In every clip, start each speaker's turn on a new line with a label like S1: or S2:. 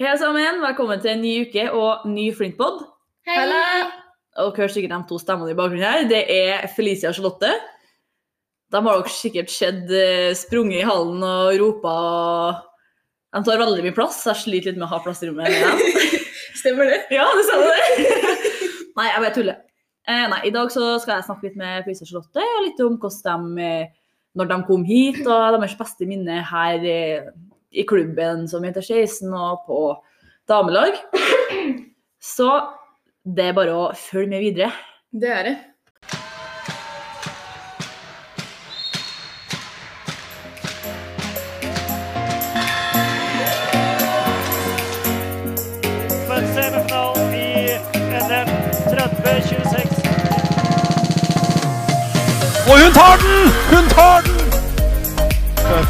S1: Hei sammen, velkommen til en ny uke og ny Flintpod.
S2: Hei!
S1: Halla! Og hør sikkert de to stemmene i bakgrunnen her. Det er Felicia og Charlotte. De har dere sikkert sett eh, sprunget i hallen og ropa og De tar veldig mye plass. Jeg sliter litt med å ha plass i rommet. med dem.
S2: Stemmer det?
S1: Ja, du sa det! nei, jeg bare tuller. Eh, nei, I dag så skal jeg snakke litt med Felicia og Charlotte, og litt om hvordan de, eh, når de kom hit, og deres beste minne her eh, i klubben som heter Skeisen, og på damelag. Så det er bare å følge med videre.
S2: Det er det.
S3: for semifinalen i NM 30-26.
S4: Og hun tar den! Hun tar den!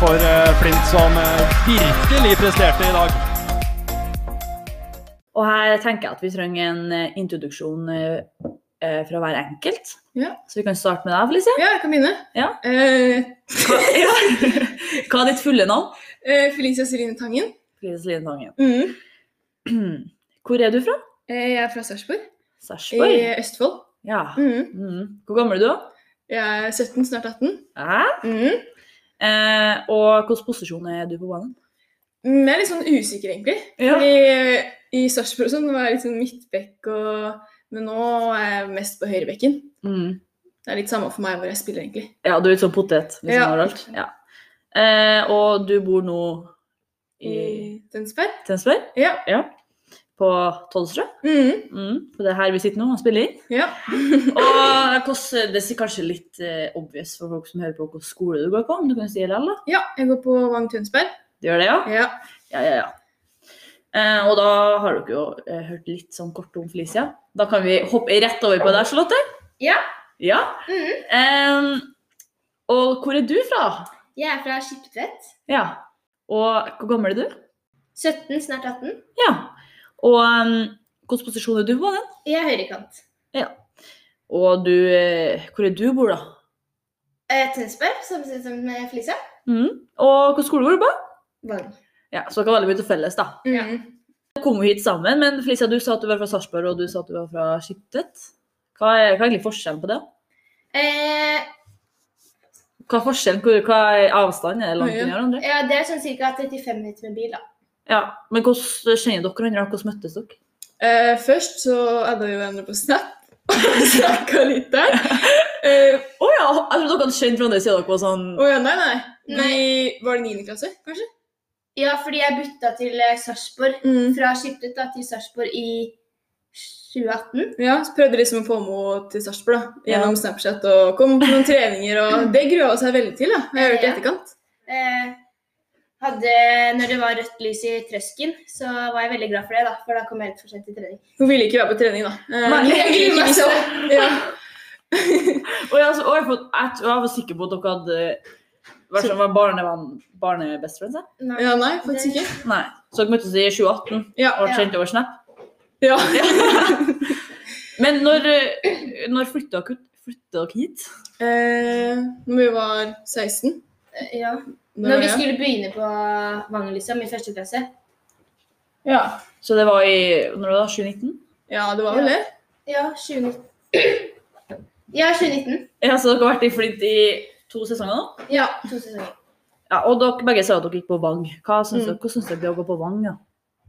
S4: For eh, Flint som eh, virkelig presterte i dag.
S1: Og her tenker jeg at vi trenger en eh, introduksjon eh, eh, fra hver enkelt.
S2: Ja.
S1: Så vi kan starte med deg, Felicia.
S2: Ja, jeg kan begynne.
S1: Ja.
S2: Eh,
S1: Hva, ja. Hva er ditt fulle navn?
S2: eh, Felicia Celine Tangen.
S1: Felicia Celine Tangen.
S2: Mm.
S1: Hvor er du fra?
S2: Eh, jeg er fra Sarpsborg i
S1: Sarpsborg?
S2: Østfold.
S1: Ja.
S2: Mm.
S1: Mm. Hvor gammel er du, da?
S2: Jeg er 17, snart 18.
S1: Hæ?
S2: Mm.
S1: Eh, og hvilken posisjon er du på banen?
S2: Mm, Jeg er litt sånn usikker, egentlig.
S1: Ja.
S2: Fordi eh, I Sarpsborg og sånn var jeg litt sånn midtbekk, og... men nå er jeg mest på høyrebekken.
S1: Mm.
S2: Det er litt samme for meg hvor jeg spiller, egentlig.
S1: ja, du er litt sånn potet. Litt
S2: Ja.
S1: sånn overalt. Ja. Eh, og du bor nå i
S5: Mm.
S2: I Tønsberg.
S1: Tønsberg?
S2: Ja.
S1: På Tollstrø?
S2: Mm.
S1: Mm. For det er her vi sitter nå og spiller inn?
S2: ja.
S1: Og hvordan, det er kanskje litt eh, obvious for folk som hører på hvilken skole du går på, om du kan si det eller?
S2: Ja, jeg går på Vang Tønsberg.
S1: Du gjør det, ja?
S2: Ja.
S1: Ja, ja, ja. Eh, og da har dere jo eh, hørt litt sånn kort om Felicia. Da kan vi hoppe rett over på deg, Charlotte.
S5: Ja.
S1: Ja.
S5: Mhm.
S1: Em, og hvor er du fra?
S5: Jeg er fra Skiptvet.
S1: Ja. Og hvor gammel er du?
S5: 17, snart 18.
S1: Ja. Og em, hvilken posisjon er du på den?
S5: Jeg er høyrekant.
S1: Og du, eh, hvor er du bor, da?
S5: Eh, Tønsberg, samme sted som eh, Felicia.
S1: Mhm. Og hvilken skole går du på?
S5: Vang.
S1: Ja, Så dere har veldig mye til felles, da.
S2: Mm.
S1: kom jo hit sammen, men Felicia, du sa at du var fra Sarpsborg, og du sa at du var fra Skiptvet. Hva er, hva er egentlig forskjellen på det?
S5: Eh,
S1: Hva er forskjellen, hvor, hva er avstanden? Er det langt
S2: Ja.
S1: unna hverandre?
S5: ja, det er sånn ca. 35 minutter med bil. da.
S1: Ja, men hvordan kjenner dere hverandre? Hvordan møttes dere?
S2: Eh, først så adda vi hverandre på Snap og snakka litt der. Eh,
S1: Å ja, jeg trodde dere hadde kjent hverandre siden dere var sånn
S2: Å ja, nei, nei. Vi var det niende klasse, kanskje?
S5: Ja, fordi jeg bytta til eh, Sarpsborg. Fra Skiptvet da, til Sarpsborg i 2018.
S2: Ja, så prøvde liksom å få med henne til Sarpsborg da,
S1: Ja.
S2: gjennom Snapchat og kom på noen treninger, og det grua hun seg veldig til, da. Jeg har hørt i
S5: Ja.
S2: etterkant.
S5: Eh, hadde, når det var rødt lys i trøsken, så var jeg veldig glad for det, da, for da kom jeg litt for sent til trening.
S2: Hun ville ikke være på trening, da. Eh,
S1: Nei,
S2: jeg ville ikke visst det. Ja.
S1: Å ja, så, å, jeg, får- jeg, tro- jeg var sikker på at dere hadde vært sånn var barnevenn, barnebest friends, jeg.
S5: Nei.
S2: ja, nei, faktisk ikke.
S1: Nei. Så dere møttes i 2018
S2: Ja.
S1: og ble
S5: Ja.
S1: kjent over Snap?
S2: ja.
S1: Men når, eh, når flytta dere, flyttet dere hit?
S2: Eh, når vi var 16
S5: Eh, Ja.
S2: da
S5: Når
S2: var
S5: vi
S2: jeg-
S5: skulle begynne på Vang, liksom, i første klasse.
S2: ja.
S1: Så det var i når var det, 2019?
S2: ja, det var vel det.
S5: Ja, 2019. Ja, 2019.
S1: Ja, så dere har vært i Flint i to sesonger nå?
S5: Ja, to sesonger.
S1: Ja, og dere begge sa at dere gikk på Vang. Hva syns
S2: Mm.
S1: dere, Hvordan syns dere det er å gå på Vang? Ja?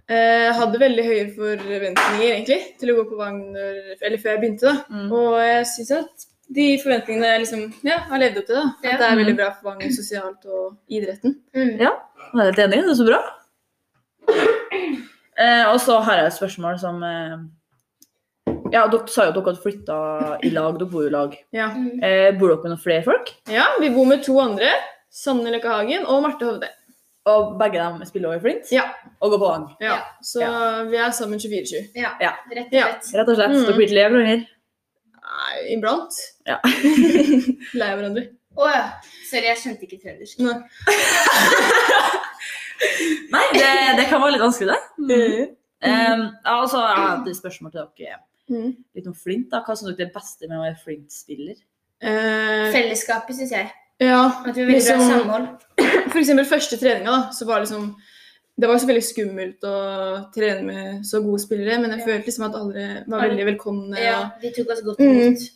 S2: Jeg Eh, hadde veldig høye forventninger egentlig, til å gå på Wagner eller før jeg begynte. da.
S1: Mm.
S2: Og jeg syns at de forventningene jeg liksom, ja, Mm. har levd opp til, da.
S5: Ja.
S2: at det er veldig bra for Wagner sosialt og idretten.
S5: Mm.
S1: Ja. Jeg er helt enig, det er så bra. Eh, og så har jeg et spørsmål som eh, Ja, dere sa jo at dere hadde flytta i lag, dere bor jo i lag.
S2: Ja.
S5: Mm.
S1: Eh, bor dere med noen flere folk?
S2: ja, vi bor med to andre. Sanne Løkke Hagen og Marte Hovde.
S1: Og begge dem spiller også i Flint?
S2: Ja.
S1: Og går på Vang?
S2: Ja, Så vi er sammen 24-7.
S5: Ja,
S1: Ja.
S5: rett og
S2: Ja.
S5: slett.
S1: Rett og slett.
S2: Mm.
S1: Dere blir ikke lever lenger?
S2: Nei, Iblant.
S1: Ja.
S2: Lei av hverandre.
S5: Å ja. Sorry, jeg skjønte ikke trøndersk.
S2: Nei.
S1: Nei, det, det kan være litt vanskelig, det. Eh, ja, og så har jeg et spørsmål til dere. eh,
S2: Mm.
S1: Litt om Flint, da. Hva syns dere er det beste med å være Flint-spiller?
S2: Eh,
S5: Fellesskapet, syns jeg.
S2: ja,
S5: At vi har veldig bra
S2: Liksom-
S5: samhold.
S2: For eksempel første treninga, da, så var liksom Det var selvfølgelig skummelt å trene med så gode spillere, men jeg
S5: Ja.
S2: følte liksom at alle var
S5: Alle-
S2: veldig velkomne.
S5: Ja, de tok oss godt
S2: Mm.
S5: imot.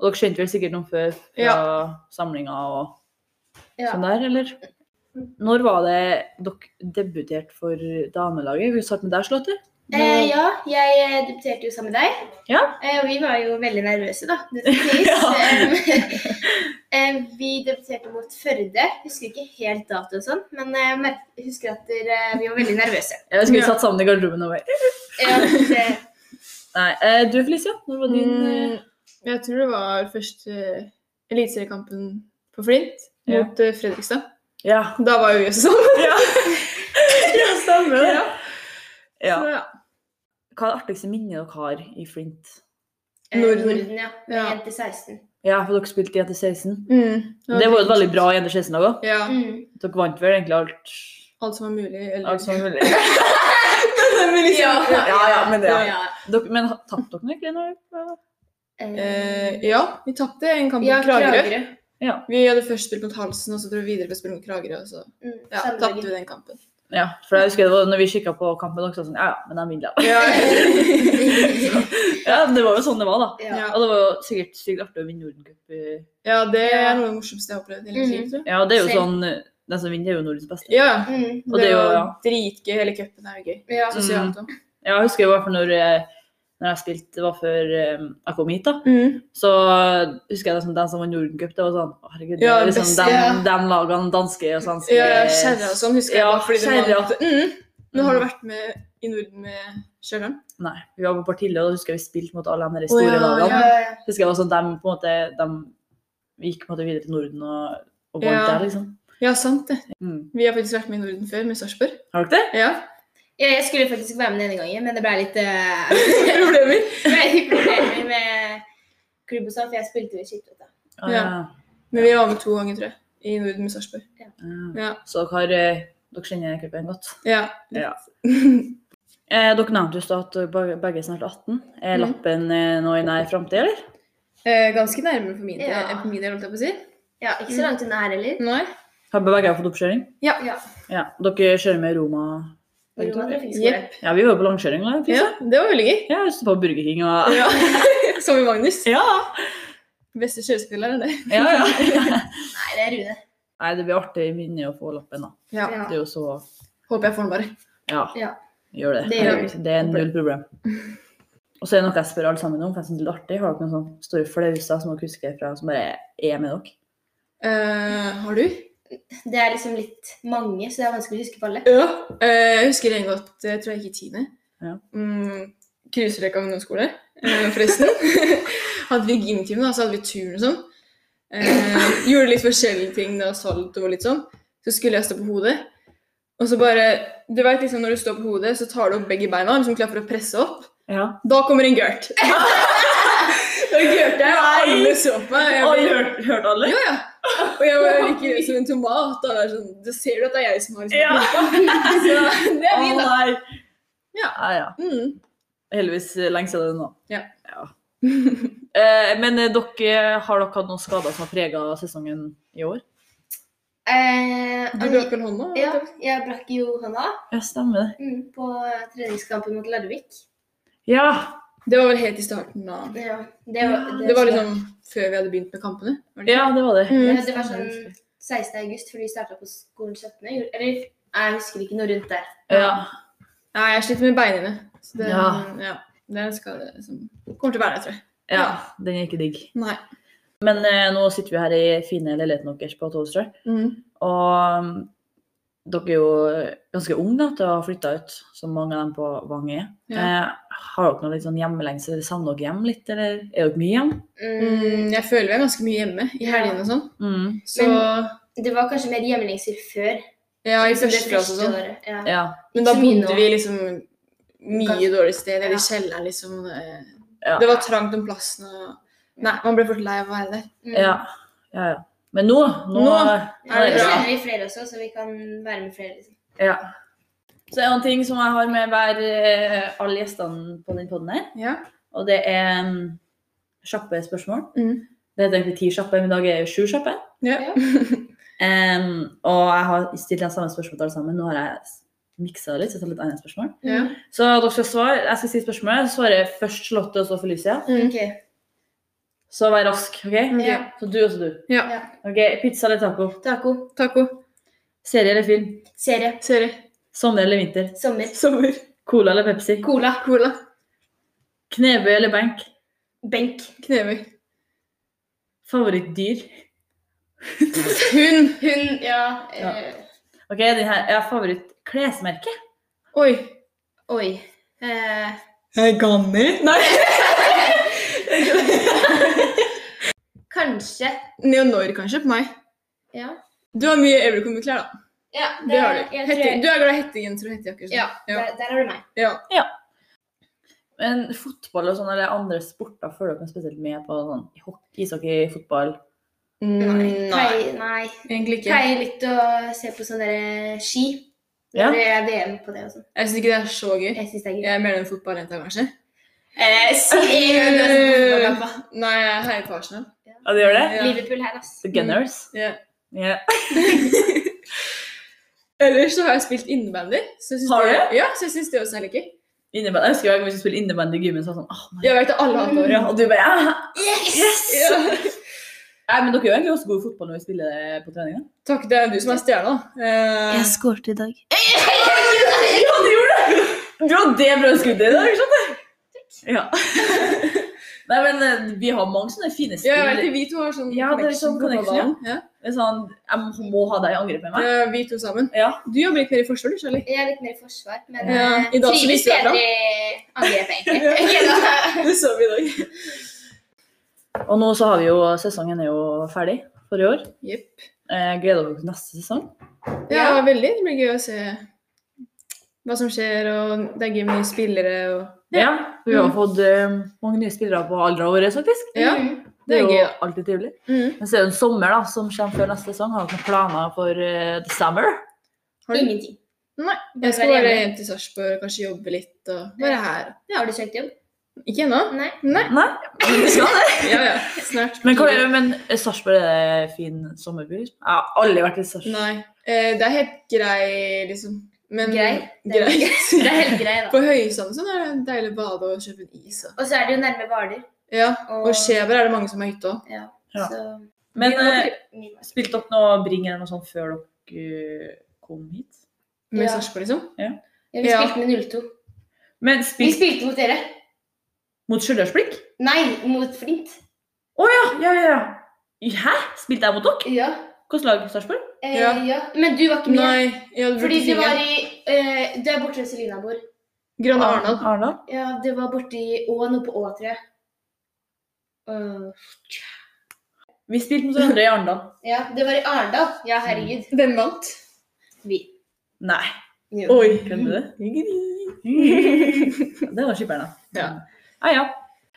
S1: Og dere kjente vel sikkert noen før fra samlinga og
S5: Ja.
S1: sånn der, eller? Når var det dere debuterte for damelaget? Vi starte med deg, Slåtte.
S5: Eh, ja, jeg eh, debuterte jo sammen med deg.
S1: Ja.
S5: Eh, og vi var jo veldig nervøse, da. Det skal sies. Eh, eh, vi debuterte mot Førde. Husker ikke helt dato og sånn, men eh, jeg mer- husker at dere, eh, vi var veldig nervøse. Eh,
S1: Jeg husker vi
S2: Ja.
S1: satt sammen i garderoben og bare
S5: Ja, det,
S1: Nei, eh, du Felicia, når var din eh,
S2: Mm, jeg tror det var først eh, eliteseriekampen på Flint
S1: Ja.
S2: mot eh, Fredrikstad.
S1: Ja.
S2: Da var jo jeg sånn.
S1: ja, stemmer
S2: det.
S1: Ja.
S2: Så, ja.
S1: Hva er det artigste minnet dere har i Flint?
S5: eh,
S2: Norden.
S5: Norden, ja.
S2: Ja.
S5: Jente 16.
S1: Ja, for dere spilte jenter 16.
S2: Mm,
S1: Det var jo et veldig bra jenter 16-lag òg.
S2: Ja.
S5: Mm.
S1: Dere vant vel egentlig alt,
S2: Alt som var mulig. Eller...
S1: alt som var mulig.
S2: Men liksom-
S1: Ja, ja, men det-
S5: ja.
S1: Dere, men ha- tapte dere egentlig nå?
S5: Eh,
S2: Eh, ja, vi tapte en kamp mot
S5: ja,
S2: Kragerø.
S5: Kragerø.
S1: Ja.
S2: Vi hadde først spilt mot Halsen, og så dro vi videre på å spille mot Kragerø. Og så
S5: Mm,
S2: ja,
S5: samme
S2: tapte vi
S5: dagen.
S2: den kampen.
S1: ja. For jeg husker det var, når vi kikka på kampen, også, sånn, ja, ja, men de vinner.
S2: Ja,
S1: Ja, det var jo sånn det var, da.
S5: ja.
S1: Og det var jo sikkert sykt artig å vinne Nordencup. eh.
S2: ja Mhm. det
S5: Ja.
S2: er noe av det morsomste jeg har opplevd i hele mitt liv, tror jeg.
S1: Ja, det er jo
S5: Selv.
S1: sånn eh, Den som vinner, er jo Nordens beste.
S2: Ja,
S5: Mm,
S1: Og det er
S2: det
S1: jo-
S2: var
S1: ja.
S2: dritgøy. Hele cupen er jo gøy.
S5: ja.
S2: Sosialt òg.
S1: Ja, jeg husker i hvert fall når, eh, når jeg spilte, det var før eh, jeg kom hit, da.
S2: Mm.
S1: Så husker jeg liksom den som var Nordencup, det var sånn Å, herregud, det
S2: Ja,
S1: er liksom
S2: beste,
S1: de,
S2: ja.
S1: lagene, danske og svenske
S2: Ja, Kjerra og sånn husker jeg.
S1: Ja,
S2: bare fordi det
S1: kjerra.
S2: var- Mm. Men har du vært med i Norden med Kjørland?
S1: Nei, vi var på Partille, og da husker jeg vi spilte mot alle de der store
S2: Å, ja,
S1: lagene.
S5: Ja, ja.
S1: Husker jeg var sånn dem på en måte De gikk på en måte videre til Norden og, og vant
S2: Ja.
S1: der, liksom.
S2: Ja, sant det.
S1: Mm.
S2: Vi har faktisk vært med i Norden før, med Sarpsborg.
S1: Har dere det?
S2: Ja.
S5: Ja, jeg skulle faktisk være med denne gangen, men det ble litt eh,
S2: Problemer.
S5: det ble litt problemer med klubb og sånn, for jeg spilte jo skitt. vet du.
S1: Ah,
S2: Ja.
S1: ja.
S2: Men vi var med to ganger, tror jeg. I Norden med Sarpsborg.
S1: Ja.
S2: Ja.
S1: Så dere, har, eh, dere kjenner cupen godt?
S2: Ja.
S1: Ja. Eh, dere nevnte jo i stad at dere begge- begge er snart 18. Er
S2: Mhm.
S1: lappen eh, nå i nær framtid, eller?
S2: Eh, ganske nærmere for min del,
S5: Ja.
S2: enn for min del, holdt jeg på å si.
S5: Ja, ikke så langt unna her heller.
S2: Nei.
S1: Har begge fått oppkjøring?
S5: Ja.
S1: Ja. Dere kjører med Roma?
S5: Roma
S1: begge to?
S5: trafikkskole.
S1: Ja, vi var på langkjøring. da,
S2: Ja,
S1: Fisa.
S2: det var veldig gøy.
S1: Ja, jeg stod på Burger King og
S2: Ja. Som i Magnus.
S1: Ja!
S2: Beste kjørespiller, det.
S1: ja, ja.
S5: Nei, det er Rune.
S1: Nei, det blir artig minne å få lappen, da.
S2: Ja.
S5: Ja.
S1: Det er jo så
S2: Håper jeg får den bare.
S1: Ja.
S5: Ja.
S1: Gjør det.
S5: Det gjør vi.
S1: det er null problem. Og så er det noe jeg spør alle sammen om, for jeg synes det er artig. Har dere noen sånne store flauser som dere husker fra, som bare er med dere?
S2: Eh, har du?
S5: Det er liksom litt mange, så det er vanskelig å huske på alle.
S2: Ja. Eh, jeg husker en godt, jeg tror jeg gikk i tiende.
S1: Ja.
S2: Mm, Kruseløkka ungdomsskole, eh, forresten. hadde vi gymtime, da, så hadde vi turn og sånn. Eh, gjorde litt forskjellige ting, da, salto og litt sånn. Så skulle jeg stå på hodet. Og så bare, du vet liksom Når du står på hodet, så tar du opp begge beina liksom klar for å presse opp.
S1: Ja.
S2: Da kommer en gørt. da gørte jeg, og alle så på meg. og jeg ble-
S1: hørte hørt alle?
S2: Ja, ja. Og jeg var like rød som en tomat. Da, det er sånn, du ser jo at det er jeg som har
S1: Ja.
S2: liksom. Så det er vi, da.
S1: nei.
S2: Ja.
S1: Ja, ja.
S2: Mm.
S1: Heldigvis eh, lenge siden nå.
S2: Ja.
S1: Eh, men eh, dere, har dere hatt noen skader som har prega sesongen i år?
S5: Eh,
S2: Du
S5: Anni-
S2: brakk vel hånda?
S5: ja, jeg brakk jo hånda
S1: Ja, stemmer det.
S5: mm, på treningskampen mot Larvik.
S1: Ja!
S2: Det var vel helt i starten da.
S5: Ja, det var, det,
S2: Det var liksom før vi hadde begynt med kampene. var det ikke?
S1: Ja, det var det.
S5: Ja,
S2: Mm.
S5: det var sånn 16. august, for de starta på skolen 17. gjorde- Eller jeg husker ikke noe rundt der.
S1: Ja.
S2: Nei, jeg sliter med beinene. Så det, ja.
S1: Ja.
S2: det er en skade som kommer til å være der, tror jeg.
S1: ja. Den er ikke digg.
S2: Nei.
S1: Men eh, nå sitter vi her i fine leiligheten deres på Toastrøy.
S2: Mm.
S1: Og um, dere er jo ganske unge da, til å ha flytta ut, som mange av dem på Vang er.
S2: Ja.
S1: Eh, har dere noe litt sånn hjemmelengsel? eller Savner dere hjem litt, eller er dere mye hjem?
S5: Mm,
S2: Mm, jeg føler vi er ganske mye hjemme i helgene og sånn.
S1: Mm.
S2: Så
S5: det var kanskje mer hjemlengsel før.
S2: ja, i
S5: liksom det
S2: første klasse og sånn.
S5: året, Ja.
S1: Ja.
S2: Men da
S5: Ikke så mye
S2: bodde
S5: nå.
S2: vi liksom mye
S5: Kanskje-
S2: dårlig sted, eller i
S5: Ja.
S2: kjelleren liksom. eh,
S1: Ja.
S2: Det var trangt om plassen og Nei, man ble fort lei av å være der.
S5: Mm.
S1: ja. ja, ja. Men nå, nå,
S2: Nå
S5: Ja,
S1: er det bra.
S5: kjenner vi flere også, så vi kan være med flere. Liksom.
S1: Ja. Så er det en ting som jeg har med hver, eh, alle gjestene på den podden her,
S2: Ja.
S1: og det er mm, kjappe spørsmål.
S2: Mm.
S1: Det heter egentlig ti kjappe, men i dag er det sju kjappe.
S2: Ja.
S1: Em, og jeg har stilt de samme spørsmål til alle sammen. Nå har jeg miksa det litt, så jeg tar litt annet spørsmål.
S2: Ja.
S5: Mm.
S1: Så dere skal svare. Jeg skal si spørsmålet. Svarer først Charlotte og så Felicia.
S2: Mm.
S5: Ok.
S1: Så vær rask. ok?
S5: Ja.
S1: Så du og så du.
S2: Ja.
S5: Ja.
S1: Ok, Pizza eller taco?
S5: Taco.
S2: Taco.
S1: Serie eller film?
S5: Serie.
S2: Serie.
S1: Sommer eller vinter?
S5: Sommer.
S2: Sommer.
S1: Cola eller Pepsi?
S2: Cola. Cola.
S1: Knebøy eller benk?
S5: Benk.
S2: Knebøy.
S1: Favorittdyr?
S2: Hund.
S5: Hun, ja,
S1: Ja.
S5: eh,
S1: Ok, den her er favorittklesmerke.
S2: Oi.
S5: Oi. Eh,
S2: Ganner? Nei.
S5: kanskje.
S2: Neonor, kanskje, på meg.
S5: Ja.
S2: Du har mye Evercombe-klær, da.
S5: ja
S2: Det, har du.
S5: jeg
S2: Hette,
S5: tror-
S2: du er glad i hettegenser og hettejakker. sånn.
S5: Ja,
S2: ja.
S5: Der, der har du meg.
S2: ja.
S1: Men fotball og sånn, eller andre sporter følger dere spesielt med på? sånn hockey, Ishockey, fotball?
S2: Mm, Nei.
S5: Pleier- nei.
S2: Egentlig ikke.
S5: Pleier litt å se på sånne der eh, ski.
S1: Ja.
S5: Når Det er VM på det og sånn.
S2: Jeg syns ikke det er så gøy.
S5: Jeg syns det er gøy.
S2: Jeg er mer den fotballjenta, kanskje.
S5: Eh, si-
S2: Eh, Nei, jeg heier på Arsenal.
S1: Ja, det gjør det?
S2: Ja. Mm,
S5: Liverpool her, ass.
S1: The Gunners?
S2: Ja.
S1: Ja.
S2: Ellers så har jeg spilt innebandy. Så jeg syns
S1: Har du?
S2: det- Ja, så jeg syns det også er litt gøy.
S1: Inneband, jeg husker hver gang vi skulle spille innebandy i gymmen, så var det sånn åh, nei.
S2: Jeg vet det alle hater over.
S1: Ja, Og du bare ja.
S5: Yes!
S2: Ja.
S1: Nei, men dere er jo egentlig også gode i fotball når vi spiller det på treninga.
S2: Takk, det er du som er stjerna. Eh,
S5: skåret i dag.
S1: Ja, du gjorde det! Du hadde det brødskuddet i dag, skjønner du? Ja. Nei, men eh, vi har mange sånne fine
S2: ja, jeg vet
S1: spill.
S2: det, vi to har sånn
S1: Ja, det er sånn
S2: på
S1: connection,
S2: banen. Ja.
S1: Det er Sånn, jeg må ha deg i angrep med meg.
S2: Eh, vi to sammen.
S1: Ja.
S2: Du jobber litt mer i forsvar, du, Charlie.
S5: Jeg er litt mer i forsvar, men
S2: Ja,
S5: eh,
S2: i dag så
S5: trives
S2: visste jeg
S5: bedre i angrep, egentlig. Ok, da.
S2: Det så vi i dag.
S1: Og nå så har vi jo, sesongen er jo ferdig for i år.
S2: Jepp.
S1: Eh, gleder dere til neste sesong?
S2: Ja, veldig. Det blir gøy å se hva som skjer, og det er gøy med nye spillere og
S1: Ja. Vi har fått eh, mange nye spillere på alderen vår, faktisk.
S2: Ja,
S5: Mhm.
S2: det er
S1: jo
S2: gøy.
S1: alltid trivelig.
S2: Mm.
S1: Men så er det en sommer da, som kommer før neste sesong. Har dere noen planer for eh, the summer?
S2: Har du?
S5: Ingenting.
S2: Nei.
S5: Bare
S2: Jeg skal
S5: være
S2: bare
S5: hjemme.
S2: hjem til Sarpsborg og kanskje jobbe litt og være her.
S5: Har du søkt jobb?
S2: Ikke ennå?
S5: Nei.
S2: Nei.
S1: Nei? Men vi skal det.
S2: Ja, ja. Snart.
S1: Men, hva, er- men eh, Sarpsborg er det fin sommerby? liksom? Jeg har aldri vært i Sarpsborg.
S2: Nei. Eh, det er helt grei, liksom. Men
S5: Grei? Det er- Det er
S2: greit.
S5: helt grei, da.
S2: På Høysand og sånn er det deilig å bade og kjøpe en is. Og.
S5: Og så er det jo nærme Hvaler.
S2: Ja,
S5: Og,
S2: og Skjeberg er det mange som har hytte òg.
S5: Ja,
S1: Ja.
S5: så
S1: Men eh,
S5: min
S1: spilte dere noe Bring eller noe sånt før dere eh, kom hit?
S2: Med
S5: Ja.
S2: Sarpsborg, liksom.
S5: ja, Vi
S2: Ja.
S5: spilte med 02.
S1: Men
S5: Vi
S1: spilt
S5: spilte mot dere.
S1: mot Stjørdalsblink?
S5: Nei, mot Flint.
S1: Å ja, ja, ja, ja. Hæ? Spilte jeg mot dere?
S5: Ja.
S1: Hvilket lag Sarpsborg?
S5: Eh,
S2: Ja.
S5: ja. Men du var ikke med.
S2: Nei, jeg hadde
S5: Fordi
S2: brukt
S5: du var
S2: fingeren.
S5: i eh, Du er borte ved Selina vår.
S2: Grønne
S1: Ah,
S2: Arendal.
S1: Arendal.
S5: Ja, det var borte i Å, noe på Å, tror jeg. Øh,
S1: Vi spilte mot hverandre i Arendal.
S5: ja, det var i Arendal. Ja, herregud.
S2: Hvem vant?
S5: Vi.
S1: Nei.
S5: Jo.
S2: Oi.
S1: Kødder du? Ja, Det var skipperen, da.
S2: Ja.
S1: Ja, ja.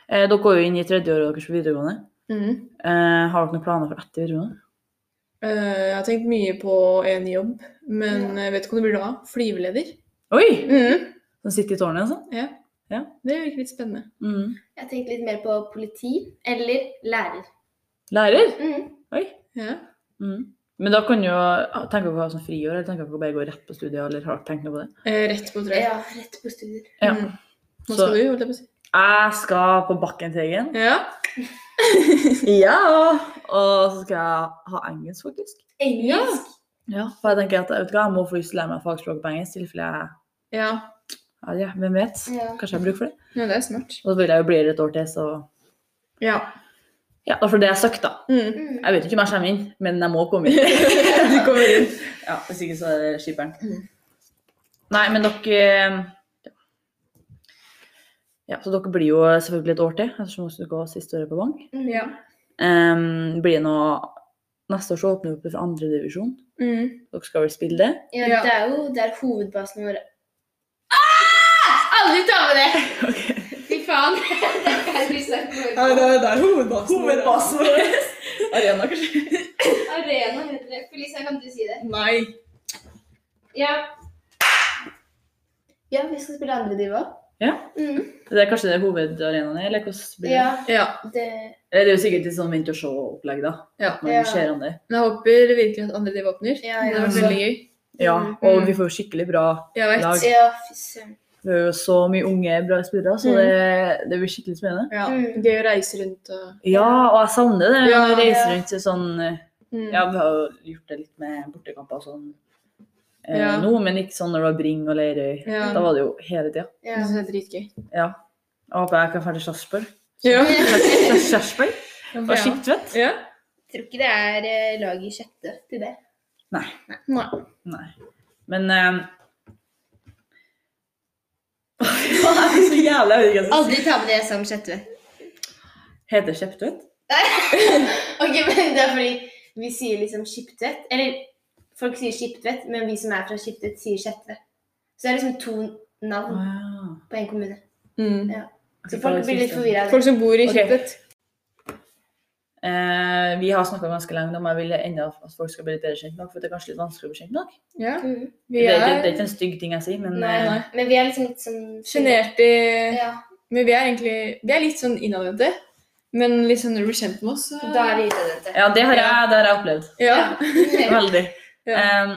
S1: Eh, dere går jo inn i tredje året deres på videregående.
S2: Mm.
S1: Eh, har dere noen planer for etter videregående?
S2: Eh, jeg har tenkt mye på en jobb, men
S5: Ja.
S2: jeg vet ikke om det blir da. Flyveleder.
S1: Oi!
S2: Mm.
S1: Som sitter i tårnet og sånn?
S2: Ja.
S1: Ja.
S2: Det virker litt spennende.
S1: Mm.
S5: Jeg tenkte litt mer på politi eller lærer.
S1: Lærer?
S5: Mm.
S1: Oi.
S2: Ja.
S1: Mm. Men da kan jo tenke dere å ha sånn friår, eller tenker dere å bare gå rett på studiet, eller har dere tenkt noe på det?
S2: Eh, rett på, tror jeg.
S5: Ja, rett på studier.
S1: Ja.
S2: Mm.
S1: Så-
S2: Hva skal du, holdt jeg på å si?
S1: Jeg skal på Bakkenteigen.
S2: Ja.
S1: Ja! Og så skal jeg ha engelsk, faktisk.
S5: Engelsk?
S1: Ja, for jeg tenker at vet du hva, jeg må få lyst til å lære meg fagspråk på engelsk, i tilfelle jeg
S2: ja.
S1: ja, ja, Hvem vet?
S5: Ja.
S1: Kanskje jeg har bruk for det.
S2: Ja, det er smart.
S1: Og så vil jeg jo bli her et år til, så
S2: Ja.
S1: Ja, da får det jeg søkt, da.
S2: Mm.
S5: Mm.
S1: Jeg vet ikke om jeg kommer inn, men jeg må komme inn.
S2: Du kommer inn.
S1: Ja, Hvis ikke så er det skipperen.
S2: Mm.
S1: Nei, men dere eh, Ja, så dere blir jo selvfølgelig et år til, ettersom dere går siste året på gang.
S5: Mm.
S2: Ja.
S1: Em, blir det noe Neste år så åpner vi opp for andredivisjon.
S2: Mm.
S1: Dere skal vel spille det?
S5: Ja,
S2: Ja.
S5: det er jo der hovedbasen vår ah! Aldri ta med det! Fy faen. Det kan vi snakke om.
S2: er der hovedbasen.
S1: Arena, kanskje?
S5: Arena heter det. Felicia, kan du si det?
S2: Nei.
S5: Ja. Ja, vi skal spille andre diva.
S1: Ja.
S5: Mm.
S1: Det er kanskje det hovedarenaen er? eller hvordan blir det?
S5: Ja,
S2: Ja.
S5: det
S1: Eller Det er jo sikkert litt sånn vent og se-opplegg, da.
S2: Ja.
S1: At man
S5: Ja.
S1: ser an det.
S2: Men jeg håper virkelig at andre div åpner.
S5: Ja,
S2: Det
S5: ja.
S2: har vært veldig gøy.
S1: Ja, og
S2: Mm.
S1: vi får jo skikkelig bra
S2: Jeg vet.
S1: lag.
S5: Ja, fy søren.
S1: Vi har jo så mye unge, bra spillere, så
S2: Mm.
S1: det, det blir skikkelig spennende.
S2: Ja.
S5: Mm.
S2: Gøy å reise rundt og
S1: Ja, og jeg savner det.
S2: Ja,
S1: å reise
S5: ja.
S1: rundt til sånn eh,
S2: mm.
S1: Ja, vi har jo gjort det litt med bortekamper og sånn eh,
S2: Ja.
S1: nå, men ikke sånn når det var Bring og Lerøy.
S2: Ja.
S1: Da var det jo hele tida.
S5: Ja.
S2: Jeg synes det er dritgøy.
S1: Ja. Jeg håper jeg kan dra til Sarpsborg.
S2: Ja.
S1: Sarpsborg? Det var skikt, vet
S2: Ja.
S5: Tror ikke det er eh, lag i sjette til det.
S2: Nei.
S1: Nei. Men eh, Hva er det så jævla jeg vet ikke hva jeg skal si.
S5: Aldri ta med det som sjette.
S1: Heter Skjeptvet?
S5: Ok, men det er fordi vi sier liksom Skiptvet. Eller folk sier Skiptvet, men vi som er fra Skiptvet, sier Skjetve. Så det er liksom to navn
S1: Wow.
S5: på én kommune.
S2: Mm.
S5: Så folk blir litt forvirra.
S2: Folk som bor i
S1: Ok.
S2: Skiptvet.
S1: Eh, vi har snakka ganske lenge om jeg vil enda at folk skal bli litt bedre kjent med dere, for det er kanskje litt vanskelig å bli kjent med dere.
S2: Ja.
S5: Mm.
S1: Det,
S2: Vi
S1: er ikke- det
S2: er
S1: er ikke en stygg ting jeg sier, men
S5: Nei,
S1: eh,
S5: nei. Men vi er liksom litt sånn
S2: sjenerte i
S5: Ja,
S2: Men vi er egentlig Vi er litt sånn innadvendte. Men liksom når du blir kjent med oss, så
S5: da er det utadvendte.
S1: eh, Ja, det har jeg, det har jeg opplevd.
S2: Ja.
S1: Veldig.
S2: Ja.
S1: Em,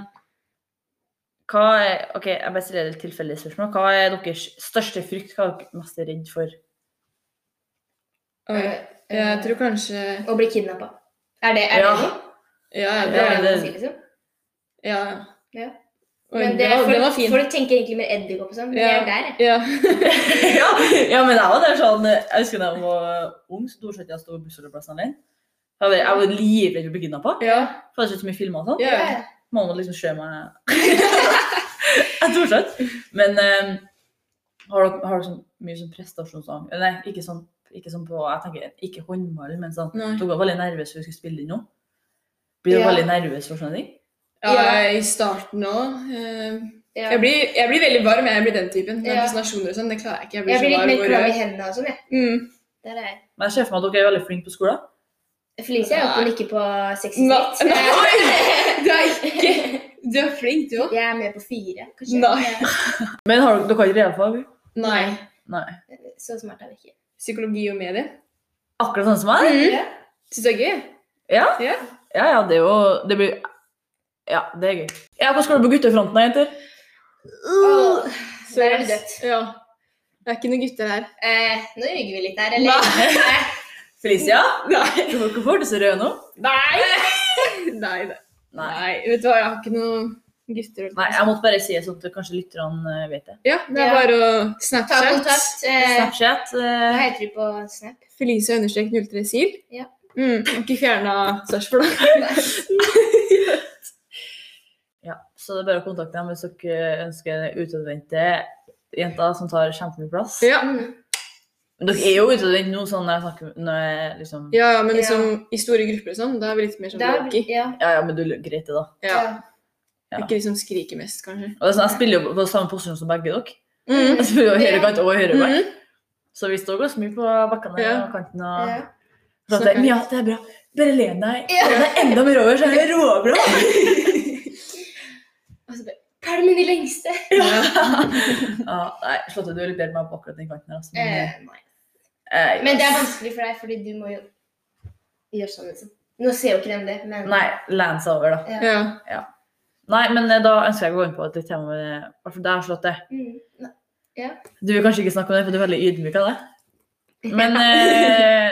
S1: hva er, ok, jeg bare stiller et tilfeldig spørsmål. Hva er deres største frykt? Hva er dere mest redd for?
S2: Oi. Jeg tror kanskje
S5: Å bli kidnappa. Er det er
S1: Ja.
S5: det
S2: Ja, ja, det
S5: noe? Det er
S2: er
S5: det
S1: det-
S5: man sier, liksom.
S2: Ja.
S5: Ja.
S2: Oi,
S5: Men det,
S2: den var,
S5: folk,
S2: den var fin.
S5: folk tenker egentlig mer edderkopp og sånn, men
S2: Ja.
S5: det er der.
S2: Ja.
S1: ja, ja, men jeg var der sånn Jeg husker da jeg var ung, så stort sett jeg sto på bussholdeplassen sånn alene. Jeg var, jeg var livredd for å bli kidnappa.
S2: ja.
S1: For det er ikke så mye filmer og sånn.
S2: Ja.
S1: Mamma liksom se meg Jeg tror ikke. Men eh, har dere, har dere sånn, mye sånn prestasjonsang? Eller Nei, ikke sånn, ikke sånn på Jeg tenker ikke håndball, men sånn
S2: Nei.
S1: Dere var veldig nervøse for vi skulle spille inn nå. Blir dere
S5: Ja.
S1: veldig nervøse for sånne ting?
S2: ja, i starten òg.
S5: Ja.
S2: Jeg, blir, jeg blir veldig varm, jeg blir den typen. Med
S5: Ja.
S2: presentasjoner og sånn, det klarer jeg ikke. Jeg blir,
S5: Jeg blir
S2: så
S5: litt
S2: varm
S5: mer
S2: og
S5: klam i
S2: rød.
S5: hendene og sånn, jeg.
S2: Mm.
S5: Der er jeg.
S1: Men jeg ser for meg at dere er veldig flinke på skolen.
S5: Felicia er oppe og nikker på
S2: Nei,
S5: 66.
S2: nei, oi! Du er ikke Du er flink, du òg.
S5: Jeg er med på fire, kanskje.
S2: Nei.
S1: Men har dere, dere har ikke realfag?
S2: Nei.
S1: Nei.
S5: Ja, eh, Så smart er vi ikke.
S2: Psykologi og medie.
S1: Akkurat sånn som meg?
S5: Ja.
S2: Syns du det er gøy?
S1: Ja.
S2: Ja.
S1: Ja, ja, det er jo Det blir Ja, det er gøy. Ja, hva skal du på guttefronten, da, jenter?
S5: Åh, der er det dødt.
S2: Uh. Ja. Det er ikke noen gutter her.
S5: Eh, nå ljuger vi litt der, eller? Eh,
S1: Felicia?
S2: Nei.
S1: Hvorfor får du så rød nå?
S2: Nei. Nei, nei.
S1: Nei.
S2: Vet du hva, jeg har ikke noen gutter.
S1: Nei, jeg måtte bare si det sånn at kanskje lytterne eh, vet det.
S2: Ja, det er
S5: Ja.
S2: bare å
S5: Ta
S2: Snapchat.
S5: kontakt. Eh,
S1: Snapchat.
S5: hva
S1: eh,
S5: heter du på Snap?
S2: Felicia understrek 03 SIL.
S5: Ja.
S2: Mm, har ikke fjerna Sarpsborg, da.
S1: Ja, så det er bare å kontakte dem hvis dere ønsker utadvendte jenter som tar kjempemye plass.
S2: Ja.
S5: Mm.
S1: Men dere er jo utadvendte nå, sånn når jeg snakker når jeg liksom
S2: ja, ja, men liksom i store grupper og sånn, da er vi litt mer sånn
S5: Der,
S2: walky.
S5: ja.
S1: Ja, ja, men du greit det, da.
S2: Ja.
S5: ja.
S1: Ja.
S2: Ikke liksom skrike mest, kanskje.
S1: Og det er sånn, Jeg spiller jo på samme posisjon som begge dere.
S2: Mm.
S1: Jeg spiller jo høyre kant og høyre back.
S2: Mhm.
S1: Så vi står ganske mye på bakkene
S2: Ja.
S1: og kanten.
S5: Mm. ja.
S1: og Så at det, men ja, det er bra. Bare len deg.
S5: Ja.
S1: Det er enda mer over, så er det råbra.
S5: Og så bare Pælmen i lengste!
S2: Mm. Ja.
S1: Ja, nei, Slåtte, du er litt bedre enn meg på akkurat den kanten. her, Altså.
S5: Eh,
S2: Mm.
S5: nei.
S1: eh,
S5: Men det er vanskelig for deg, fordi du må jo gjøre sånn, liksom. Nå ser jo ikke dem det, men
S1: Nei, len seg over, da.
S2: ja.
S1: Nei, men eh, da ønsker jeg å gå inn på et litt tema med i hvert fall deg, Charlotte.
S5: Mm. Nei.
S1: Du vil kanskje ikke snakke om det, for du er veldig ydmyk av det. Men eh,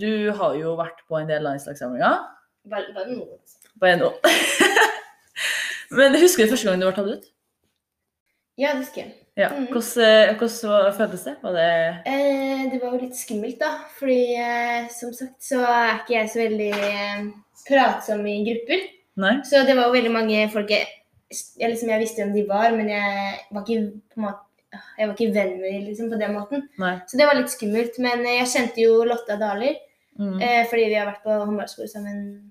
S1: du har jo vært på en del landslagssamlinger.
S5: Bare, altså. bare noe.
S1: På en Men husker du første gang du ble tatt ut?
S5: Ja, det skal jeg.
S1: Ja.
S5: Mhm.
S1: Hvordan, eh, hvordan var- føltes det? Var det
S5: Eh, det var jo litt skummelt, da. Fordi eh, som sagt så er ikke jeg så veldig eh, pratsom i grupper.
S1: Nei?
S5: Så det var jo veldig mange folk jeg, jeg, liksom, jeg visste hvem de var, men jeg var ikke, på en måte, jeg var ikke venn med dem liksom, på den måten.
S1: Nei.
S5: Så det var litt skummelt. Men eh, jeg kjente jo Lotta Daler
S1: Mhm.
S5: eh, fordi vi har vært på håndballskole sammen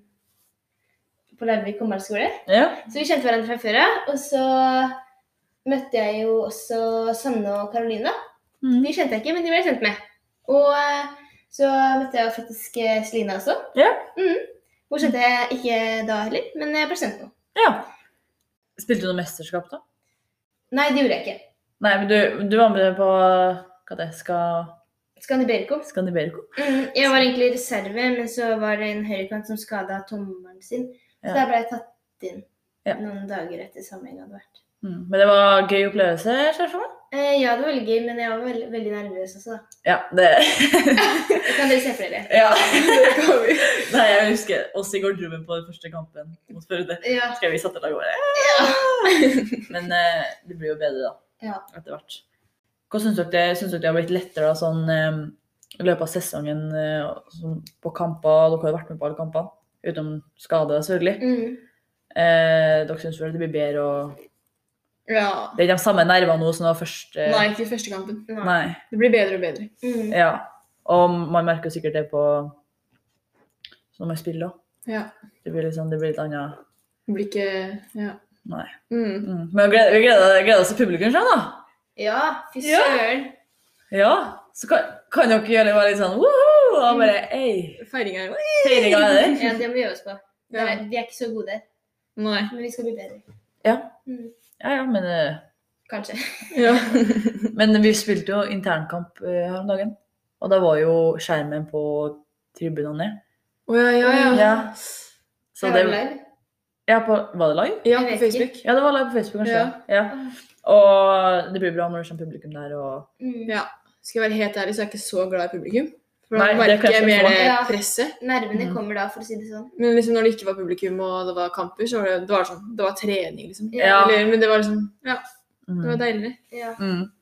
S5: på Larvik håndballskole.
S1: Ja.
S5: Så vi kjente hverandre fra før av. Og så møtte jeg jo også Sanne og Karoline.
S1: Mhm.
S5: De kjente jeg ikke, men de ble jeg kjent med. Og eh, så møtte jeg jo faktisk eh, Selina også.
S1: Ja.
S5: Mhm. Hun kjente jeg ikke da heller, men jeg ble kjent nå.
S1: ja. Spilte du noe mesterskap, da?
S5: Nei, det gjorde jeg ikke.
S1: Nei, men du, du var med på hva det skal
S5: Skandiberico.
S1: Skandiberico?
S5: Mhm, Jeg var egentlig i reserve, men så var det en høyrekant som skada tommelen sin. Så
S1: Ja.
S5: da ble jeg tatt inn.
S1: Ja.
S5: noen dager etter samling hadde vært.
S1: Mm. Men det var gøy opplevelse, ser jeg for meg.
S5: Eh, ja, det var veldig gøy, men jeg var veldig, veldig nervøs også, da.
S1: Ja, det
S5: Det kan dere se for dere.
S1: ja.
S2: Det kan vi.
S1: Nei, jeg husker oss i garderoben på den første kampen mot Førde.
S5: Ja.
S1: Skal vi sette lag over? Men eh, det blir jo bedre, da.
S5: Ja.
S1: Etter hvert. Hva syns dere, syns dere det har blitt lettere da, sånn eh, i løpet av sesongen eh, sånn på kamper? Dere har jo vært med på alle kampene, utenom skade, selvfølgelig.
S5: Mm.
S1: Eh, dere syns vel det blir bedre å
S2: Ja.
S1: Det er de samme nervene nå som det var først? eh,
S2: Nei, ikke i første kampen.
S5: Nei.
S1: Nei.
S2: Det blir bedre og bedre.
S5: Mm.
S1: Ja. Og man merker jo sikkert det på når man spiller òg.
S2: Ja.
S1: Det blir liksom, det blir litt annet
S2: Det blir ikke Ja.
S1: Nei.
S2: Mm.
S1: Mm. Men vi gleder, vi gleder, gleder oss til publikum sjøl, da.
S5: Ja, fy
S1: Ja.
S5: søren.
S1: Ja, så kan, kan dere gjøre bare litt sånn woho! Og bare ei,
S2: Feiringa er
S1: feiringa er der.
S5: Ja, det må vi øve oss på.
S2: Ja.
S5: Nei, Vi er ikke så gode,
S2: Nei.
S5: men vi skal bli bedre.
S1: Ja.
S5: Mm.
S1: Ja, ja, men, eh,
S5: Kanskje.
S2: Ja.
S1: men vi spilte jo internkamp eh, her om dagen. Og da var jo skjermen på tribunene ned.
S2: Å ja, ja, ja.
S1: Ja. Så
S5: Jeg
S1: det,
S5: var live.
S1: ja, på, var det live?
S2: Ja,
S5: Jeg
S2: på
S5: vet
S2: Facebook.
S1: Ja, det var live på Facebook, kanskje.
S2: Ja.
S1: Ja. Og det blir bra når det kommer publikum der. Og...
S5: Mm.
S2: Ja. Skal jeg være helt ærlig, så er jeg ikke så glad i publikum. For da
S1: Nei, det
S2: merker
S1: kan jeg
S2: jeg mer
S1: forstå.
S2: det
S5: Ja.
S2: presset.
S5: Nervene
S1: Mm.
S5: kommer da, for å si det sånn.
S2: Men liksom når det ikke var publikum og det var kamper, så var det, det var sånn, det var trening, liksom.
S1: Ja.
S2: Eller, men det var liksom Ja, det var
S1: Mm.
S2: deiligere.
S5: Ja.
S1: Mm.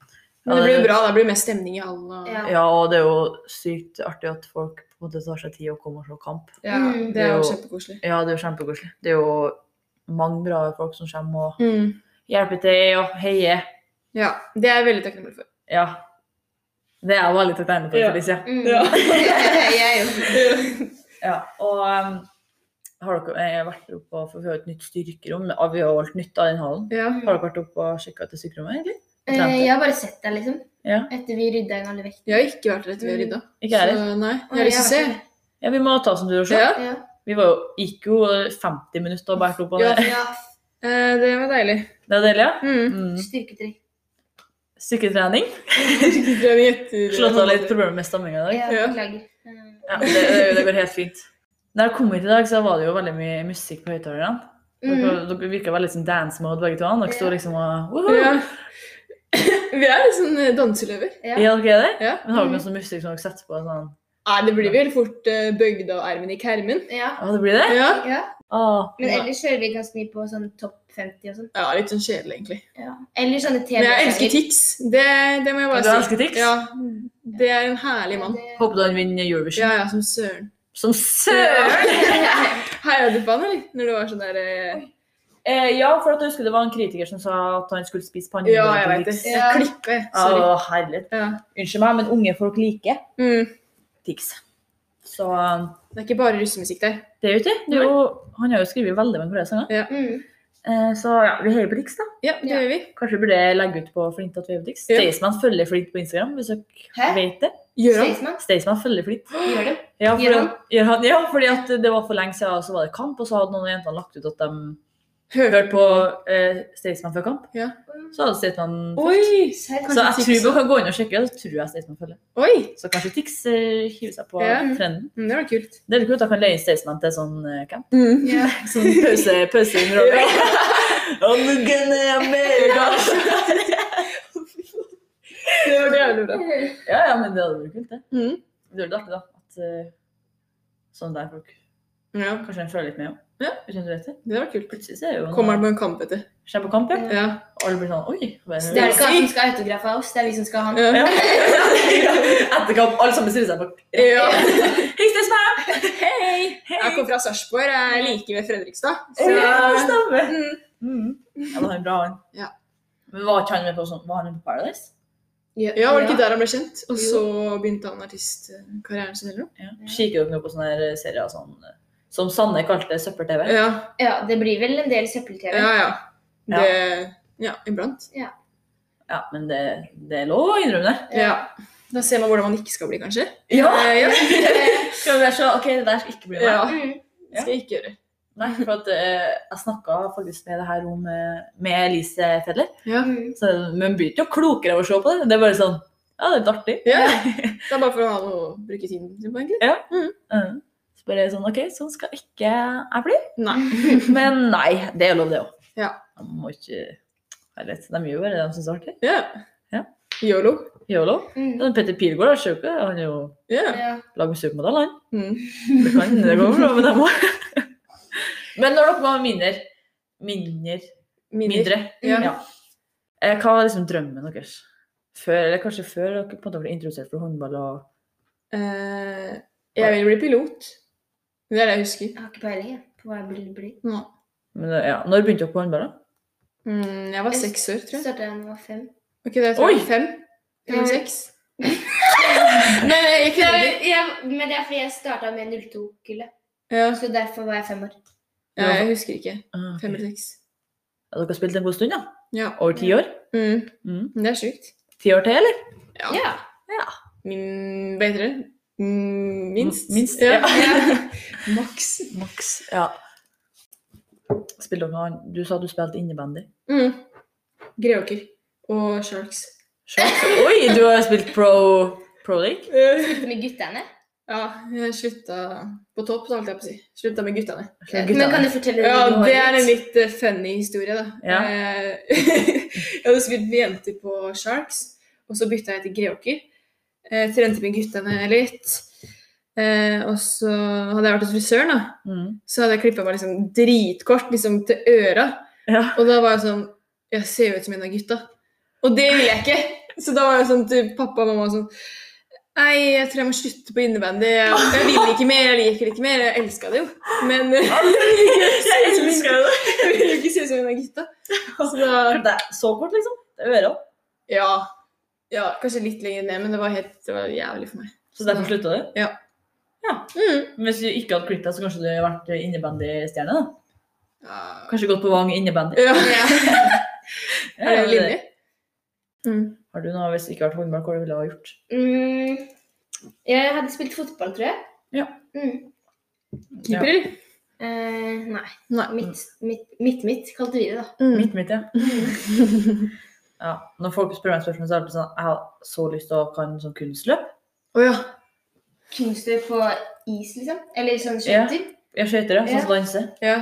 S2: Men det blir jo bra. Da blir det mest stemning i hallen. Og,
S5: Ja.
S1: Ja, og det er jo sykt artig at folk på en måte tar seg tid og kommer og ser kamp.
S2: ja,
S5: Mm.
S2: det er
S1: Det er jo-
S2: jo kjempekoselig.
S1: Ja, det er jo kjempekoselig. Det er jo mange bra folk som kommer og
S2: Mm.
S1: hjelpe til og heie.
S2: Ja. Det er jeg veldig takknemlig for.
S1: Ja. Det er jeg veldig takknemlig for.
S2: Ja.
S1: Felicia.
S5: Mm.
S2: Ja.
S5: jeg er jo
S1: Ja. Og um, har dere jeg har vært oppe og for vi har jo et nytt styrkerom? men Vi har jo alt nytt av den hallen.
S2: Ja.
S1: Har dere vært oppe og sjekka til styrkerommet, egentlig?
S5: Eh, Jeg har bare sett deg, liksom.
S1: Ja.
S5: Etter vi rydda inn alle vektene.
S2: Jeg har ikke vært der etter vi har rydda.
S1: Ikke jeg heller.
S2: Så nei, jeg har lyst til å se.
S1: Ja, vi må ta oss en tur og se.
S2: Ja.
S5: Ja.
S1: Vi var jo, gikk jo 50 minutter og bærte opp av
S2: Ja.
S1: det.
S5: ja.
S2: Eh, Det var deilig.
S1: Det er deilig, ja.
S2: Mm.
S1: Mm.
S5: Styrketrekk.
S1: Styrketrening.
S2: Trening etter
S1: Slått av litt problemer med stamminga i dag.
S5: Ja,
S2: Ja.
S5: beklager. Eh,
S1: Ja, det, det, det går helt fint. Da jeg kom hit i dag, så var det jo veldig mye musikk på høyttalerne. Dere,
S5: Mm.
S1: dere virka veldig som dance mode, begge to. Dere sto
S5: Ja.
S1: liksom og Woohoo!
S2: Ja. Vi er litt sånn eh, danseløver.
S5: Ja.
S1: Ja, dere er det?
S2: Ja. Mm.
S1: Men har dere noe sånn musikk som dere setter på? Sånn.
S2: Nei, det blir vel fort eh, bøgda og ermen i kermen.
S5: Ja.
S1: Ja, det blir det? Ah,
S2: Ja.
S5: ja.
S1: Åh,
S5: Men ellers kjører vi ganske mye på sånn topp 50 og sånn.
S2: ja, litt sånn kjedelig, egentlig.
S5: Ja. Eller sånne
S2: Men jeg elsker
S5: TV-sanger.
S2: Tix. Det, det må jeg bare
S1: Du
S2: si.
S1: elsker Tix?
S2: Ja, det er en herlig mann.
S5: Mm. Det-
S1: håper du han vinner Eurovision.
S2: Ja, ja, som søren.
S1: Som søren!
S2: Heia du på han, eller? Når det var sånn der eh,
S1: Eh, ja, for at jeg husker det var en kritiker som sa at han skulle spise pannebånd.
S2: Ja, jeg vet det.
S5: Ja.
S2: Jeg klipper. jeg.
S1: Å,
S2: Sorry.
S1: herlighet.
S2: Ja.
S1: Unnskyld meg, men unge folk liker
S2: Mm.
S1: Tix. Så um,
S2: Det er ikke bare russemusikk der.
S1: det er jo ikke det. er jo, han har jo skrevet veldig mange flere sanger.
S5: Mm.
S1: Eh, så ja, vi heier på Tix, da.
S2: Ja, det
S5: Ja.
S2: gjør vi.
S1: Kanskje vi burde legge ut på Flint at vi heier på Tix.
S2: Ja.
S1: Staysman følger Flint på Instagram, hvis dere
S5: Hæ?
S1: vet det.
S2: Gjør han?
S5: Staysman?
S1: Staysman følger Flint.
S5: Gjør det?
S1: Ja, fordi,
S5: Gjør han?
S1: gjør han, ja, fordi at det var for lenge siden så var det kamp, og så hadde noen av jentene lagt ut at de hørte på eh, Staysman før kamp.
S2: Ja.
S1: Så hadde Staysman
S2: Oi!
S5: Serr?
S1: Så jeg
S2: Tix
S1: tror man kan gå inn og sjekke, så tror jeg Staysman følger.
S2: Oi!
S1: Så kanskje Tix eh, hiver seg på
S2: Ja.
S1: trenden.
S2: Mm, Det var kult.
S1: Det er litt kult, da kan leie Staysman til sånn eh, camp.
S2: Mm.
S5: Ja.
S1: Sånn pause, pauseunderholdning. I'm gonna America!
S2: Det var jævlig bra.
S1: Ja, ja, men det hadde vært kult, det.
S2: Mm.
S1: Det hadde vært artig, da. At eh, sånn der folk
S2: Ja,
S1: Kanskje en føler litt med òg.
S2: Ja.
S1: Uten du vet det.
S2: det var kult.
S1: Plutselig så er det jo
S2: Kommer han på en kamp etter?
S1: Skjer på kamp, ja.
S2: Ja.
S1: Og alle blir sånn Oi! hva
S5: Så
S1: er
S5: det er
S1: det?
S5: ikke han som skal ha autograf av oss, det er vi som skal ha han.
S2: Ja.
S1: Ja. Etter kamp, alle sammen stiller seg bak.
S2: ja.
S1: Hei, Staysman! Hei!
S2: Jeg kom fra Sarpsborg, jeg er like ved Fredrikstad. Så
S1: Ja, det stemmer.
S2: Mm.
S1: Mm. Ja, det var en bra han.
S2: Ja.
S1: Men var ikke han med på sånn Var han med på Paradise?
S2: Ja, var det ikke
S5: Ja.
S2: der han ble kjent? Og så begynte han artistkarrieren sin eller noe?
S1: Ja. Kikker dere nå på sånne her serier sånn, eh, som Sanne kalte søppel-TV?
S2: Ja,
S5: Ja, det blir vel en del søppel-TV.
S2: ja. ja. Det, ja, iblant.
S1: Ja, men det, det er lov å innrømme det.
S2: Ja. Da ser man hvordan man ikke skal bli, kanskje.
S1: Ja!
S2: Eh, ja.
S1: Skal vi være så OK, det der skal ikke bli meg.
S2: ja.
S5: Mm.
S2: Det skal jeg ikke gjøre.
S1: Nei, for at, eh, jeg snakka faktisk med det her om eh, med Elise Fedler.
S2: Ja.
S5: Mm.
S1: Så, men blir ikke noe klokere av å se på det. Det er bare sånn Ja, det er litt artig.
S2: Ja. Det er bare for å ha noe å bruke tiden sin på, egentlig.
S1: Mm. Så Bare sånn OK, sånn skal ikke jeg bli.
S2: Nei.
S1: Men nei, det er lov, det òg.
S2: Ja.
S1: Man må ikke Herlighet, de gjør bare det de syns er artig.
S2: Ja.
S1: Ja.
S2: Yolo.
S1: Yolo.
S5: Mm.
S1: Men Petter Pilgaard er sjuk, han er jo
S2: Ja.
S5: Ja.
S1: lag musikkmodell, han.
S2: Mm.
S1: Det kan det går bra med dem òg. Men når dere var mindre Mindre? mindre
S2: Mindre. Ja.
S1: Ja. Eh, Hva var liksom drømmen deres? Før, eller kanskje før dere på en måte ble introdusert for håndball og
S2: Eh, jeg vil bli pilot. Det er det jeg husker.
S5: Jeg har ikke peiling jeg, på hva jeg vil bli.
S2: Nå.
S1: men, eh, ja. Når begynte dere på håndball? da?
S2: Mm, jeg var seks år, tror jeg.
S5: Starta jeg da jeg var fem.
S2: Ok, det tror jeg
S1: Oi!
S2: var fem. Eller
S5: Mm.
S2: seks. Nei, jeg kødder ikke.
S5: men det er fordi jeg starta med 02-kullet,
S2: Ja.
S5: så derfor var jeg fem år.
S2: ja, jeg husker ikke.
S1: Ah, ok.
S2: Fem eller seks.
S1: Ja, dere har spilt en god stund, ja?
S2: Ja.
S1: Over ti år?
S2: Mm.
S1: Mm.
S2: Det er sjukt.
S1: Ti år til, eller?
S2: Ja.
S5: Ja.
S2: Min bedre. Mm, minst.
S1: M- minst,
S2: Ja.
S1: ja.
S2: Maks.
S1: Maks. Ja. Spilte dere noe annet? Du sa du spilte innebandy.
S2: Mm. Greåker. Og Sharks.
S1: Sharks. Oi, du har spilt pro, pro league?
S2: Eh,
S5: Med guttene.
S2: Ja, jeg slutta på topp, da, holdt jeg på å si. Slutta med guttene.
S1: Eller
S5: Men kan
S1: guttene?
S5: du fortelle
S2: Ja,
S5: noe
S2: det er en
S5: litt?
S2: litt eh, funny historie, da.
S1: Ja.
S2: Eh, jeg hadde spilt med jenter på Sharks, og så bytta jeg til Greåker. Eh, trente med guttene litt. Eh, og så hadde jeg vært hos frisøren, da.
S1: Mm.
S2: Så hadde jeg klippa meg liksom dritkort, liksom til øra.
S1: Ja.
S2: Og da var jeg sånn Jeg ser jo ut som en av gutta. Og det ville jeg ikke. Så da var jeg sånn til pappa og mamma sånn Nei, jeg tror jeg må slutte på innebandy. Jeg, jeg vil ikke mer, jeg liker det ikke mer. Jeg elska det jo, men eh,
S1: Jeg
S2: elsker
S1: det!
S2: jeg vil jo ikke se ut som en av gutta. Så da
S1: Så kort, liksom? Det er øra.
S2: ja, ja. Kanskje litt lenger ned, men det var helt det var jævlig for meg.
S1: Så derfor slutta du?
S2: Ja.
S1: ja.
S2: Mm.
S1: Men hvis du ikke hadde klippet deg, så kanskje du hadde vært innebandystjerne? da?
S2: Ja.
S1: Kanskje gått på Vang innebandy?
S2: ja. Er det
S1: men-
S2: linje? Mm.
S1: Har du noe, hvis det ikke har vært håndball, hva du ville ha gjort?
S5: Mm, jeg hadde spilt fotball, tror jeg.
S1: Ja.
S5: Mm.
S1: Ja.
S2: Keeper, eller?
S5: Eh, nei.
S2: Nei.
S5: Midt-midt, kalte vi det, da.
S2: Mm.
S1: Mitt, mitt, ja. ja. Når folk spør meg spørsmål, så er det alltid sånn Jeg har så lyst til å kan sånn kunstløp.
S2: Å ja.
S5: Kunstner på is, liksom. Eller sånn
S1: Ja.
S5: skøyter.
S1: Jeg skøyter, ja. Sånn som danse.
S2: ja.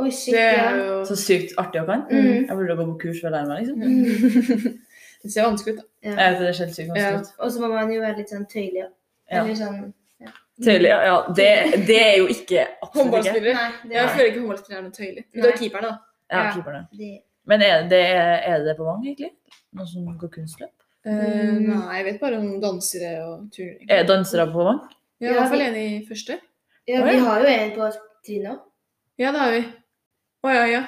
S5: Oi, shit,
S2: Det
S5: ja.
S2: er jo
S1: Så sykt artig å kan.
S5: Mm.
S1: Jeg burde gå på kurs for å lære meg, liksom.
S5: Mm.
S2: Det ser vanskelig ut, da.
S5: Ja.
S1: Jeg vet, det er helt sykt
S2: Ja.
S1: vanskelig. ut.
S5: Og så må man jo være litt sånn tøyelig. Ja.
S1: Ja.
S5: Eller sånn
S1: Tøyelig, ja. ja. Det, det er jo ikke absolutt ikke.
S2: Håndballspiller.
S5: Nei, det
S2: Jeg
S5: var
S2: føler ikke håndballspiller er noe tøyelig. Du er
S5: Nei.
S2: keeperen, da.
S1: Ja,
S5: Ja.
S1: keeperne.
S5: det.
S1: Men er det, er det på Vang, egentlig? Noen som går kunstløp?
S2: Eh,
S5: Mm.
S2: Nei, jeg vet bare om dansere og turning.
S1: Er dansere på Vang?
S2: Vi er i
S5: Ja,
S2: hvert fall
S5: vi-
S2: enig i første.
S5: Ja,
S1: Oi.
S5: vi har jo en på trynet òg.
S2: Ja, det har vi. Å ja, ja.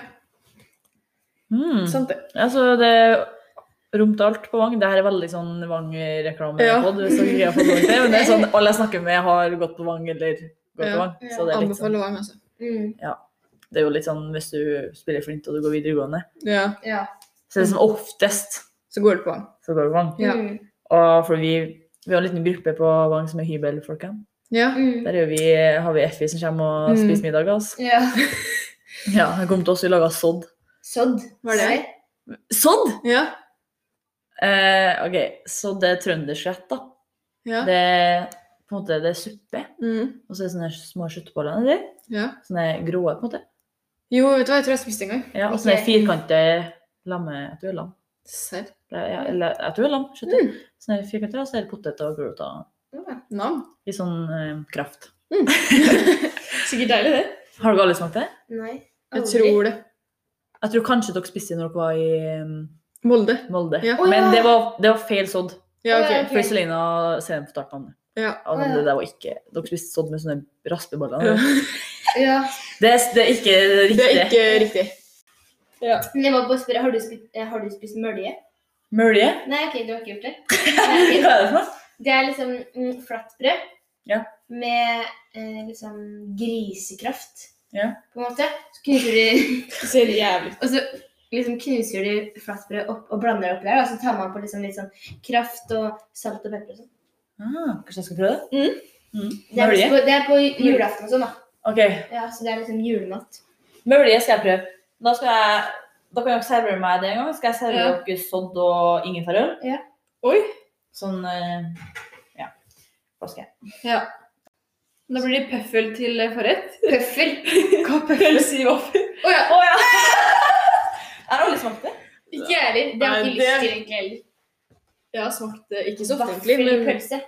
S1: Mm.
S2: Sant det.
S1: Ja, så det er rom til alt på Vang. Det her er veldig sånn Vang-reklame.
S2: Ja.
S1: podd, hvis dere ikke har fått med dere det, Men det er sånn alle jeg snakker med, har gått på Vang eller gått
S2: Ja.
S1: på Vang. Så det er, litt sånn,
S2: Anbefaler Wang, altså.
S5: Mm.
S1: det er jo litt sånn hvis du spiller flint og du går videregående,
S2: Ja.
S5: Ja.
S1: så det er som oftest
S2: Så går det på Wang.
S1: så går du på Vang.
S2: Ja.
S5: Mm.
S1: Og for vi, vi har en liten gruppe på Vang som er hybelfolkene.
S2: Ja.
S5: Mm.
S1: Der er vi, har vi Effi som kommer og
S2: Mm.
S1: spiser middag altså. med oss.
S5: ja.
S1: Ja, han kom til oss, vi laga sodd.
S5: Sodd.
S2: Var det?
S5: Se.
S1: Sodd?!
S2: Ja.
S1: Eh, OK, så det er trøndersk rett, da.
S2: Ja.
S1: Det er på en måte det er suppe,
S2: Mm.
S1: og så er det sånne små kjøttboller nedi.
S2: ja.
S1: Sånne grå, på en måte.
S2: Jo, vet du hva, jeg tror jeg spiste en gang.
S1: Ja, og sånne
S5: Ok.
S1: firkanter lamme... Jeg tror det er lam.
S2: Serr.
S1: Det er- ja, Eller jeg tror det er lam. Kjøtt. Sånne firkanter, og så er det poteter og gulrøtter.
S5: Ja.
S2: Nam.
S1: Litt sånn eh, kraft.
S2: Sikkert deilig, det.
S1: Har dere alle smakt det?
S5: Nei.
S2: Jeg
S5: aldri.
S2: tror det.
S1: Jeg tror kanskje dere spiste det når dere var i eh,
S2: Molde.
S1: Molde.
S2: Ja.
S5: Å,
S1: Men
S5: ja.
S1: det var, det var feil sodd.
S2: Ja,
S5: Å, ja,
S2: OK.
S5: ok.
S1: For Selina ser dem på starten av det.
S2: Ja.
S1: Og
S5: Å, ja.
S1: det der var ikke Dere spiste sodd med sånne raspeboller.
S2: Ja.
S5: Ja.
S1: Det, er- det er ikke riktig.
S2: Det er ikke riktig.
S5: Men jeg må bare spørre, har du spist, eh, har du spist mølje?
S1: Mølje?
S5: Nei, ok, du har ikke gjort det.
S1: Hva
S5: Nei, ok.
S1: er det for noe?
S5: Det er liksom mm, flatt brød
S1: Ja.
S5: med eh, liksom grisekraft,
S1: Ja.
S5: på en måte. Så knuser du,
S2: Det ser jævlig ut.
S5: og så liksom knuser du flatt brød opp og blander det opp der, og så tar man på liksom litt sånn kraft og salt og pepper og sånn.
S1: Ah, kanskje jeg skal prøve det? Mm.
S5: Det er, liksom
S1: Mølje?
S5: på, det er på
S2: Mm.
S5: julaften og sånn, da.
S1: Ok,
S5: Ja, så det er liksom julemat.
S1: Mølje skal jeg prøve. Da, skal jeg, da kan dere servere meg det en gang. Skal jeg servere
S2: Ja.
S1: dere sodd og ingefærøl?
S2: Oi.
S1: Sånn eh, Ja. Hva skal jeg?
S2: Ja.
S6: Da blir det pøffel til eh, forrett.
S5: Pøffel.
S6: Hva pøffel sier vaffer?
S5: Å ja.
S6: Å ja! Er det alle smakte?
S5: Ikke jeg heller. Det har jeg
S2: Nei, det-
S5: ikke lyst til egentlig heller.
S2: Jeg har smakt det eh, ikke så ofte, egentlig, men
S5: Vaffelpølse.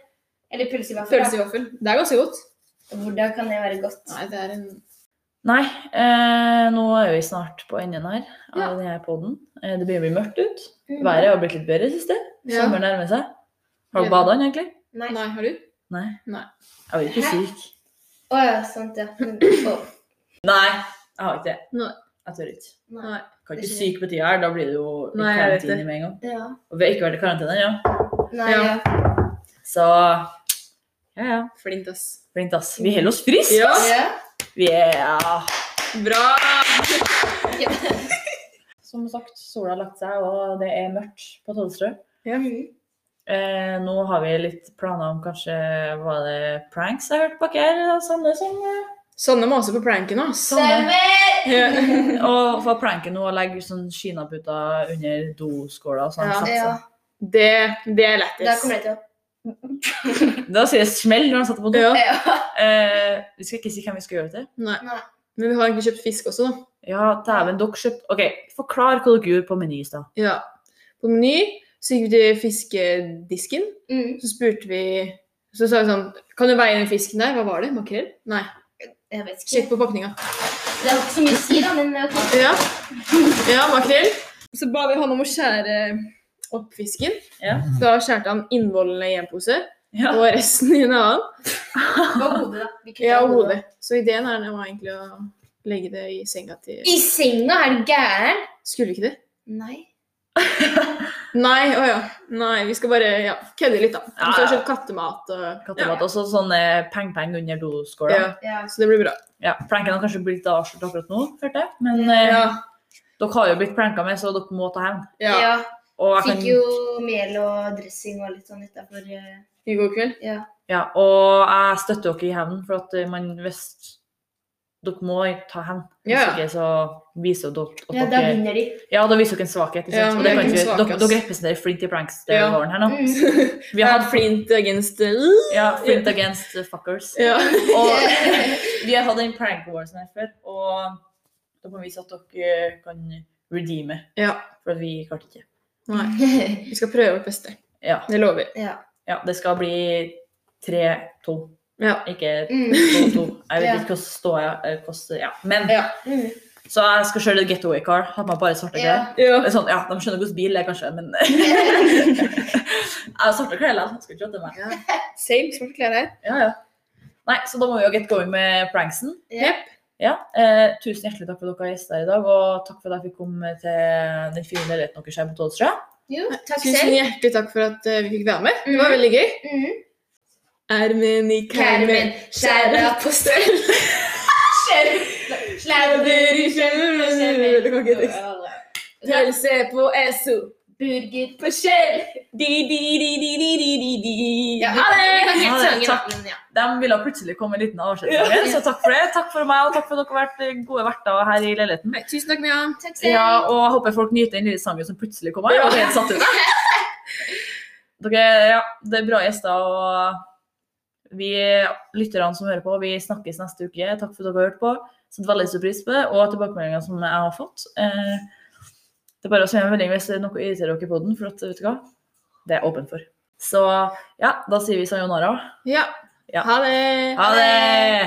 S5: Eller pølse i vaffel.
S2: pølse i vaffel. Det er ganske godt.
S5: da. Hvordan kan det være godt?
S2: Nei, det er en
S1: Nei, eh, nå er vi snart på enden her av
S2: Ja.
S1: denne podden. Eh, det begynner å bli mørkt ut. Været har blitt litt bedre i siste.
S2: Ja.
S1: Sommeren nærmer seg. Har
S2: Ja.
S1: du badet den egentlig?
S5: Nei.
S2: Nei, har du?
S1: Nei.
S2: Nei.
S1: Jeg blir ikke
S5: Hæ?
S1: syk.
S5: Å ja, sant, ja. Men- å,
S1: Nei, jeg har ikke det.
S2: Nei.
S1: Jeg tør ikke.
S5: Nei.
S1: Kan ikke syk på tida her, da blir det jo i
S2: Nei, jeg vet
S1: karantene
S2: det.
S1: med en gang.
S5: Ja.
S1: Og vi har ikke vært i karantene ennå.
S5: Nei,
S2: Ja.
S5: ja.
S1: Så ja, ja.
S2: Flint, ass.
S1: Flink, ass. Vi holder oss friske.
S2: Ja,
S5: ja.
S1: Vi er ja.
S2: bra!
S1: Som sagt, sola har lagt seg, og det er mørkt på Tollestrø.
S2: Ja.
S1: Eh, nå har vi litt planer om kanskje Var det pranks jeg hørte bak her? og Sånne som eh,
S2: Sanne maser på pranken, ass.
S5: Stemmer!
S2: Sånn, Ja.
S1: Og få pranken nå og legge sånn kinaputter under doskåla og sånn.
S2: Ja.
S1: satser.
S5: Ja,
S2: Det, det er
S5: da
S2: lættis.
S5: kommer det til å
S1: Da sier det smell når han satte på do.
S2: Ja.
S5: Ja.
S1: Eh, vi skal ikke si hvem vi skal gjøre det til.
S2: Nei.
S5: Nei.
S2: Men vi har egentlig kjøpt fisk også, da.
S1: Ja, dæven, dere kjøpte OK, forklar hva dere gjorde på Meny i stad.
S2: Ja. På Meny så gikk vi til fiskedisken.
S5: Mm.
S2: Så spurte vi Så sa vi sånn Kan du veie den fisken der? Hva var det? Makrell? Nei.
S5: Jeg vet ikke.
S2: Sjekk på pakninga.
S5: Det er ikke så mye å si, da, men ok.
S2: Ja. ja, makrell. Så ba vi han om å skjære opp fisken.
S1: Ja.
S2: Så Da skjærte han innvollene i en pose
S1: Ja.
S2: og resten i en annen.
S5: Og hodet, da. Vi kutter
S2: Ja, og
S5: av
S2: hodet. Så ideen er var egentlig å legge det i senga til
S5: I senga? Er du gæren?
S2: Skulle vi ikke det?
S5: Nei.
S2: Nei, å ja. Nei, vi skal bare ja, kødde litt, da.
S1: Ja,
S2: Vi skal
S1: ja.
S2: kjøpe kattemat og
S1: Kattemat. Også sånn eh, peng-peng under
S2: Ja.
S1: doskåla.
S2: ja,
S1: Ja.
S5: Ja.
S2: så det blir bra.
S1: Pranken har kanskje blitt avslørt akkurat nå, hørte jeg. Men eh,
S2: Ja.
S1: dere har jo blitt pranka med, så dere må ta hevn.
S2: ja.
S5: ja.
S1: Og jeg
S5: Fikk
S1: kan
S5: jo mel og dressing og litt sånn utafor.
S2: I går kveld.
S5: Ja.
S1: Ja, og jeg støtter dere i hevnen, for at eh, man hvis Dere må ta hevn. Hvis
S2: Ja, ja.
S1: ikke så viser jo dere
S5: ja,
S1: at
S5: da
S1: dere
S5: vinner de.
S1: Ja, da viser dere en svakhet. Ikke
S2: Ja,
S1: sant?
S2: men
S1: og det
S2: det er
S1: kan
S2: ikke
S1: ikke,
S2: en
S1: dere,
S2: svakhet,
S1: dere
S2: ass.
S1: representerer flint i pranks det
S2: Ja.
S1: våren her nå.
S5: Mm.
S1: Vi har hatt
S2: flint eh, against the
S1: ja, flint against the fuckers.
S2: Ja.
S1: Og vi har hatt en prank war som er før, og da må vi vise at dere kan redeeme.
S2: Ja.
S1: For at vi klarte ikke.
S2: Nei, vi skal prøve vårt beste.
S1: Ja.
S2: Det lover vi.
S5: Mm. ja.
S1: ja. Det skal bli 3-2,
S2: Ja.
S1: ikke 2-2.
S5: Mm.
S1: Jeg vet
S5: Ja.
S1: ikke hvordan står jeg eh, hvordan, ja. Men
S2: Ja.
S5: Mm.
S1: Så jeg skal kjøre litt getaway car. Har på meg bare svarte
S5: Ja.
S1: klær.
S2: Ja.
S1: Det er Sånn, ja, De skjønner hvordan bil det er, kanskje, men Jeg har svarte klær likevel. Skal ikke til meg.
S2: Same svarte klær her.
S1: Ja, ja. Nei, så da må vi jo get going med pranksen.
S5: Jep.
S1: Ja, eh, Tusen hjertelig takk for at dere har gjester her i dag, og takk for at jeg fikk komme til den fine leiligheten deres her på Tolstrø.
S5: Jo, takk
S2: Tusen
S5: selv.
S2: hjertelig takk for at eh, vi fikk være med. Det var veldig gøy.
S5: Mm.
S2: Ermen i
S5: Kermen,
S2: kermen,
S5: skjæra på støl.
S2: Sladder i skjelven. Det kan ikke tekst. Pølse på SO.
S5: Burger
S2: På skjell. Di, di, di, di, di, di, di, di.
S5: Ja, ha det! Jeg kan
S1: Ha
S5: ikke
S1: det,
S5: sangen,
S1: takk.
S5: da, men ja.
S1: De ville plutselig komme en liten avskjedelse, med, så takk for det. Takk for meg, og takk for at dere har vært gode verter her i leiligheten.
S2: Nei, Tusen takk, Mia.
S5: Takk selv.
S1: Ja, og jeg håper folk nyter den lille sangen som plutselig kom her. og ble helt satt ut. Dere, ja, det er bra gjester, og vi lytterne som hører på, vi snakkes neste uke. Takk for at dere har hørt på. Setter veldig stor pris på det, og tilbakemeldingene som jeg har fått. Eh, det er bare å sende en melding hvis det er noe irriterer dere på den, for at, vet du hva? det er jeg åpen for. Så ja, da sier vi sayonara.
S2: Ja.
S1: Ja.
S2: Ha det.
S1: Ha det!